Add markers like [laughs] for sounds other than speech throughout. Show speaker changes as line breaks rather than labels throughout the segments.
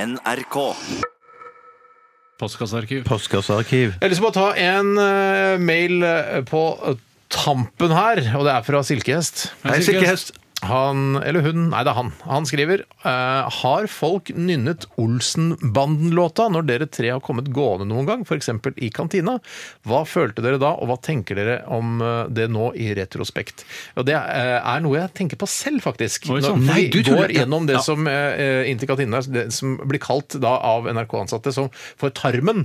NRK.
Postkassearkiv.
Postkassearkiv.
Jeg har lyst til å bare ta en eh, mail eh, på tampen her, og det er fra Silkehest.
Hei, silkehest.
Han, eller hun, nei det er han. Han skriver eh, Har folk nynnet Olsenbanden-låta når dere tre har kommet gående noen gang, f.eks. i kantina? Hva følte dere da, og hva tenker dere om eh, det nå i retrospekt? Og Det eh, er noe jeg tenker på selv, faktisk.
Oi,
Når
sånn. Nei, du
vi
tuller.
går gjennom det
Ja.
som eh, inntil kantina, det som blir kalt da av NRK-ansatte som for tarmen.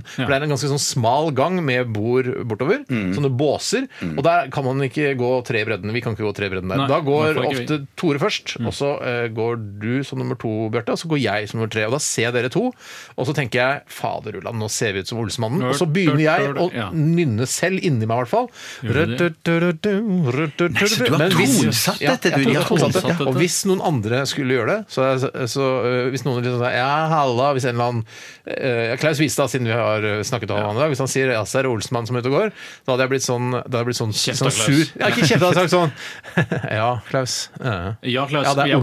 Ja. Mm.
For det er en ganske sånn smal gang med bord bortover, sånne båser. Og der kan man ikke gå tre i bredden. Vi kan ikke gå tre i bredden der.
Nei,
da
i
går
hvert fall ikke Mm.
ofte Tore først, og så eh, går du som nummer to, Bjarte, og så går jeg som nummer tre. Og da ser dere to, og så tenker jeg fader Ulland, nå ser vi ut som Olsemannen. Og så begynner jeg å
Ja.
nynne selv inni meg, i hvert fall.
Gjør du
Nei,
så du har tonsatt dette, du. De
Ja, jeg
har
tror jeg har tonsatt
tonsatt
det. Og
dette.
hvis noen andre skulle gjøre det, så, så øh, hvis noen liksom sier ja, halla, hvis en eller annen øh, ja, Klaus Vistad, siden vi har øh, snakket om han i dag, hvis han sier ja, så er det Olsmann som er ute og går, da hadde jeg blitt sånn, da hadde jeg blitt sånn,
Kjeft
sånn
av Klaus.
sur. Ja, ikke kjeft, jeg hadde sagt sånn [laughs] ja, Klaus. Ja,
Ja, Klaus,
ja det
vi
er
er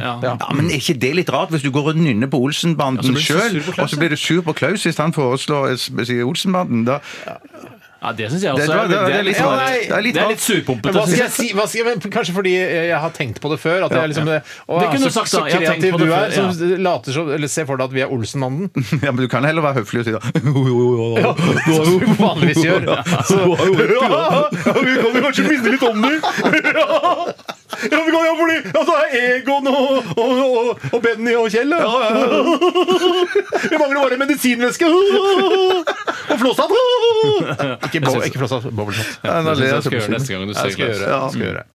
Olsen. Ja. Ja.
Ja. Ja.
Ja.
Ja, men Er ikke det litt rart, hvis du går og nynner
Ja,
på
så blir
Olsenbanden
du så sur
sjøl,
på Klaus,
og så blir du sur på Klaus hvis han foreslår sier Olsenbanden? Da, [laughs]
det syns jeg
det,
også.
det, det, det er litt
Ja,
rart.
nei,
Det er litt
det er
rart.
litt surpompete.
Men hva skal
synes [laughs]
jeg si? Hva skal jeg, men kanskje fordi jeg har tenkt på det før. At jeg liksom,
ja.
å,
Det kunne du
så,
sagt,
så
da. Jeg har tenkt
kreativ
på
du
det
er,
før,
som later som Eller ser for deg at vi er Olsenmannen.
Ja, men du kan heller være høflig og si da [laughs]
[laughs] Som du vanligvis [laughs] gjør. Så, ja, vi kan jo kanskje minne litt om [laughs] dem! Ja, vi kan, ja, fordi, ja, så er Egon og, og, og, og Benny og Kjell ja. [laughs] Vi mangler bare medisinvæske! [laughs] Og Flåshatt! Ikke, bo- ikke Flåshatt, Bobblehatt.
Ja, nå
jeg
ler
skal
jeg så på
gjøre
siden.
neste gang du
Jeg
ser
skal
Klaus.
gjøre det. Jeg skal gjøre det.